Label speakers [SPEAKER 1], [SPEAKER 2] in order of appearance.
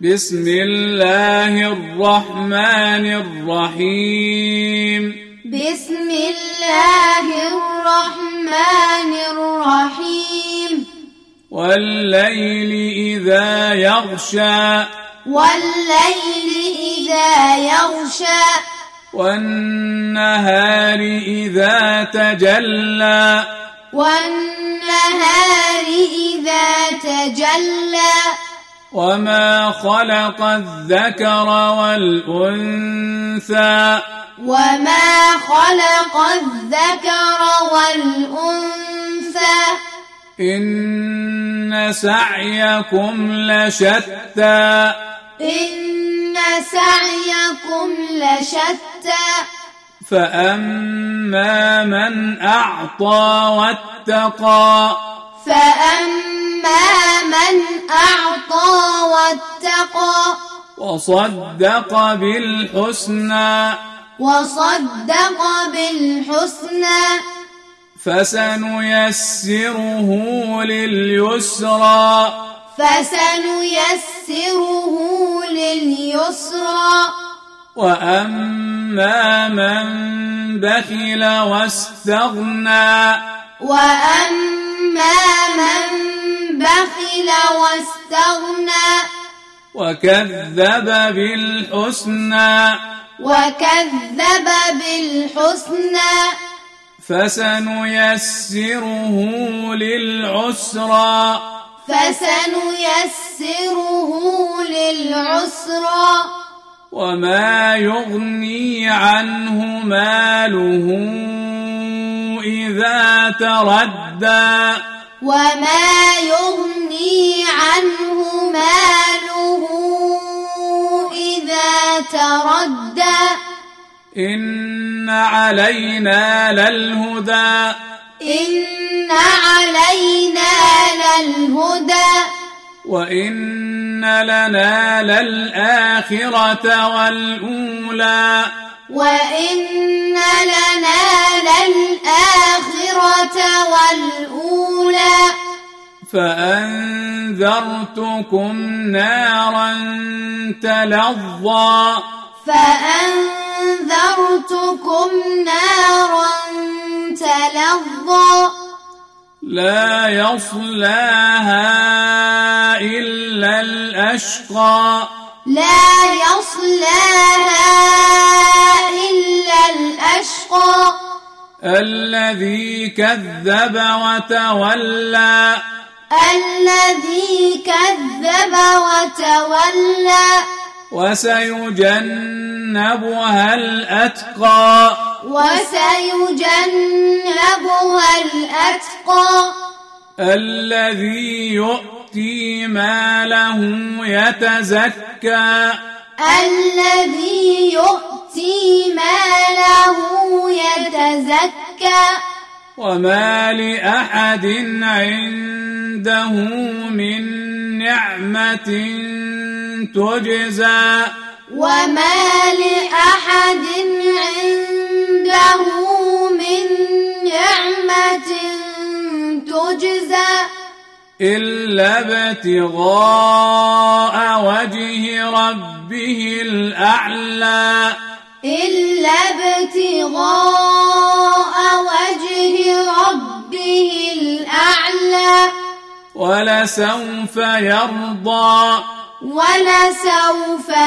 [SPEAKER 1] بسم الله الرحمن الرحيم
[SPEAKER 2] بسم الله الرحمن الرحيم
[SPEAKER 1] والليل إذا يغشى
[SPEAKER 2] والليل إذا يغشى
[SPEAKER 1] والنهار إذا تجلى
[SPEAKER 2] والنهار إذا تجلى
[SPEAKER 1] وما خلق الذكر والأنثى
[SPEAKER 2] وما خلق الذكر والأنثى
[SPEAKER 1] إن سعيكم لشتى
[SPEAKER 2] إن سعيكم لشتى
[SPEAKER 1] فأما من أعطى واتقى
[SPEAKER 2] فأما من أعطى واتقى
[SPEAKER 1] وصدق بالحسنى
[SPEAKER 2] وصدق بالحسنى
[SPEAKER 1] فسنيسره لليسرى
[SPEAKER 2] فسنيسره لليسرى
[SPEAKER 1] وأما من بخل واستغنى
[SPEAKER 2] وأما من بخل واستغنى
[SPEAKER 1] وكذب بالحسنى
[SPEAKER 2] وكذب بالحسنى
[SPEAKER 1] فسنيسره للعسرى
[SPEAKER 2] فسنيسره للعسرى
[SPEAKER 1] وما يغني عنه ماله إذا تردى
[SPEAKER 2] وما يغني عنه ماله إذا تردى
[SPEAKER 1] إن علينا للهدى
[SPEAKER 2] إن علينا للهدى
[SPEAKER 1] وإن لنا للآخرة والأولى
[SPEAKER 2] وإن لنا للآخرة والأولى
[SPEAKER 1] فأنذرتكم نارا تلظى
[SPEAKER 2] فأنذرتكم نارا تلظى
[SPEAKER 1] لا يصلاها إلا الأشقى
[SPEAKER 2] لا يصلاها إلا الأشقى
[SPEAKER 1] الذي كذب وتولى
[SPEAKER 2] الذي كذب وتولى
[SPEAKER 1] وسيجنبها الأتقى
[SPEAKER 2] وسيجنبها الأتقى
[SPEAKER 1] الذي يؤتي ماله يتزكى
[SPEAKER 2] الذي يؤتي ماله يتزكى
[SPEAKER 1] وما لأحد عنده من نعمة تجزى
[SPEAKER 2] وما لأحد عنده من نعمة تجزى
[SPEAKER 1] إلا ابتغاء وجه ربه الأعلى
[SPEAKER 2] إلا ابتغاء وجه ربه الأعلى
[SPEAKER 1] ولسوف يرضى
[SPEAKER 2] ولسوف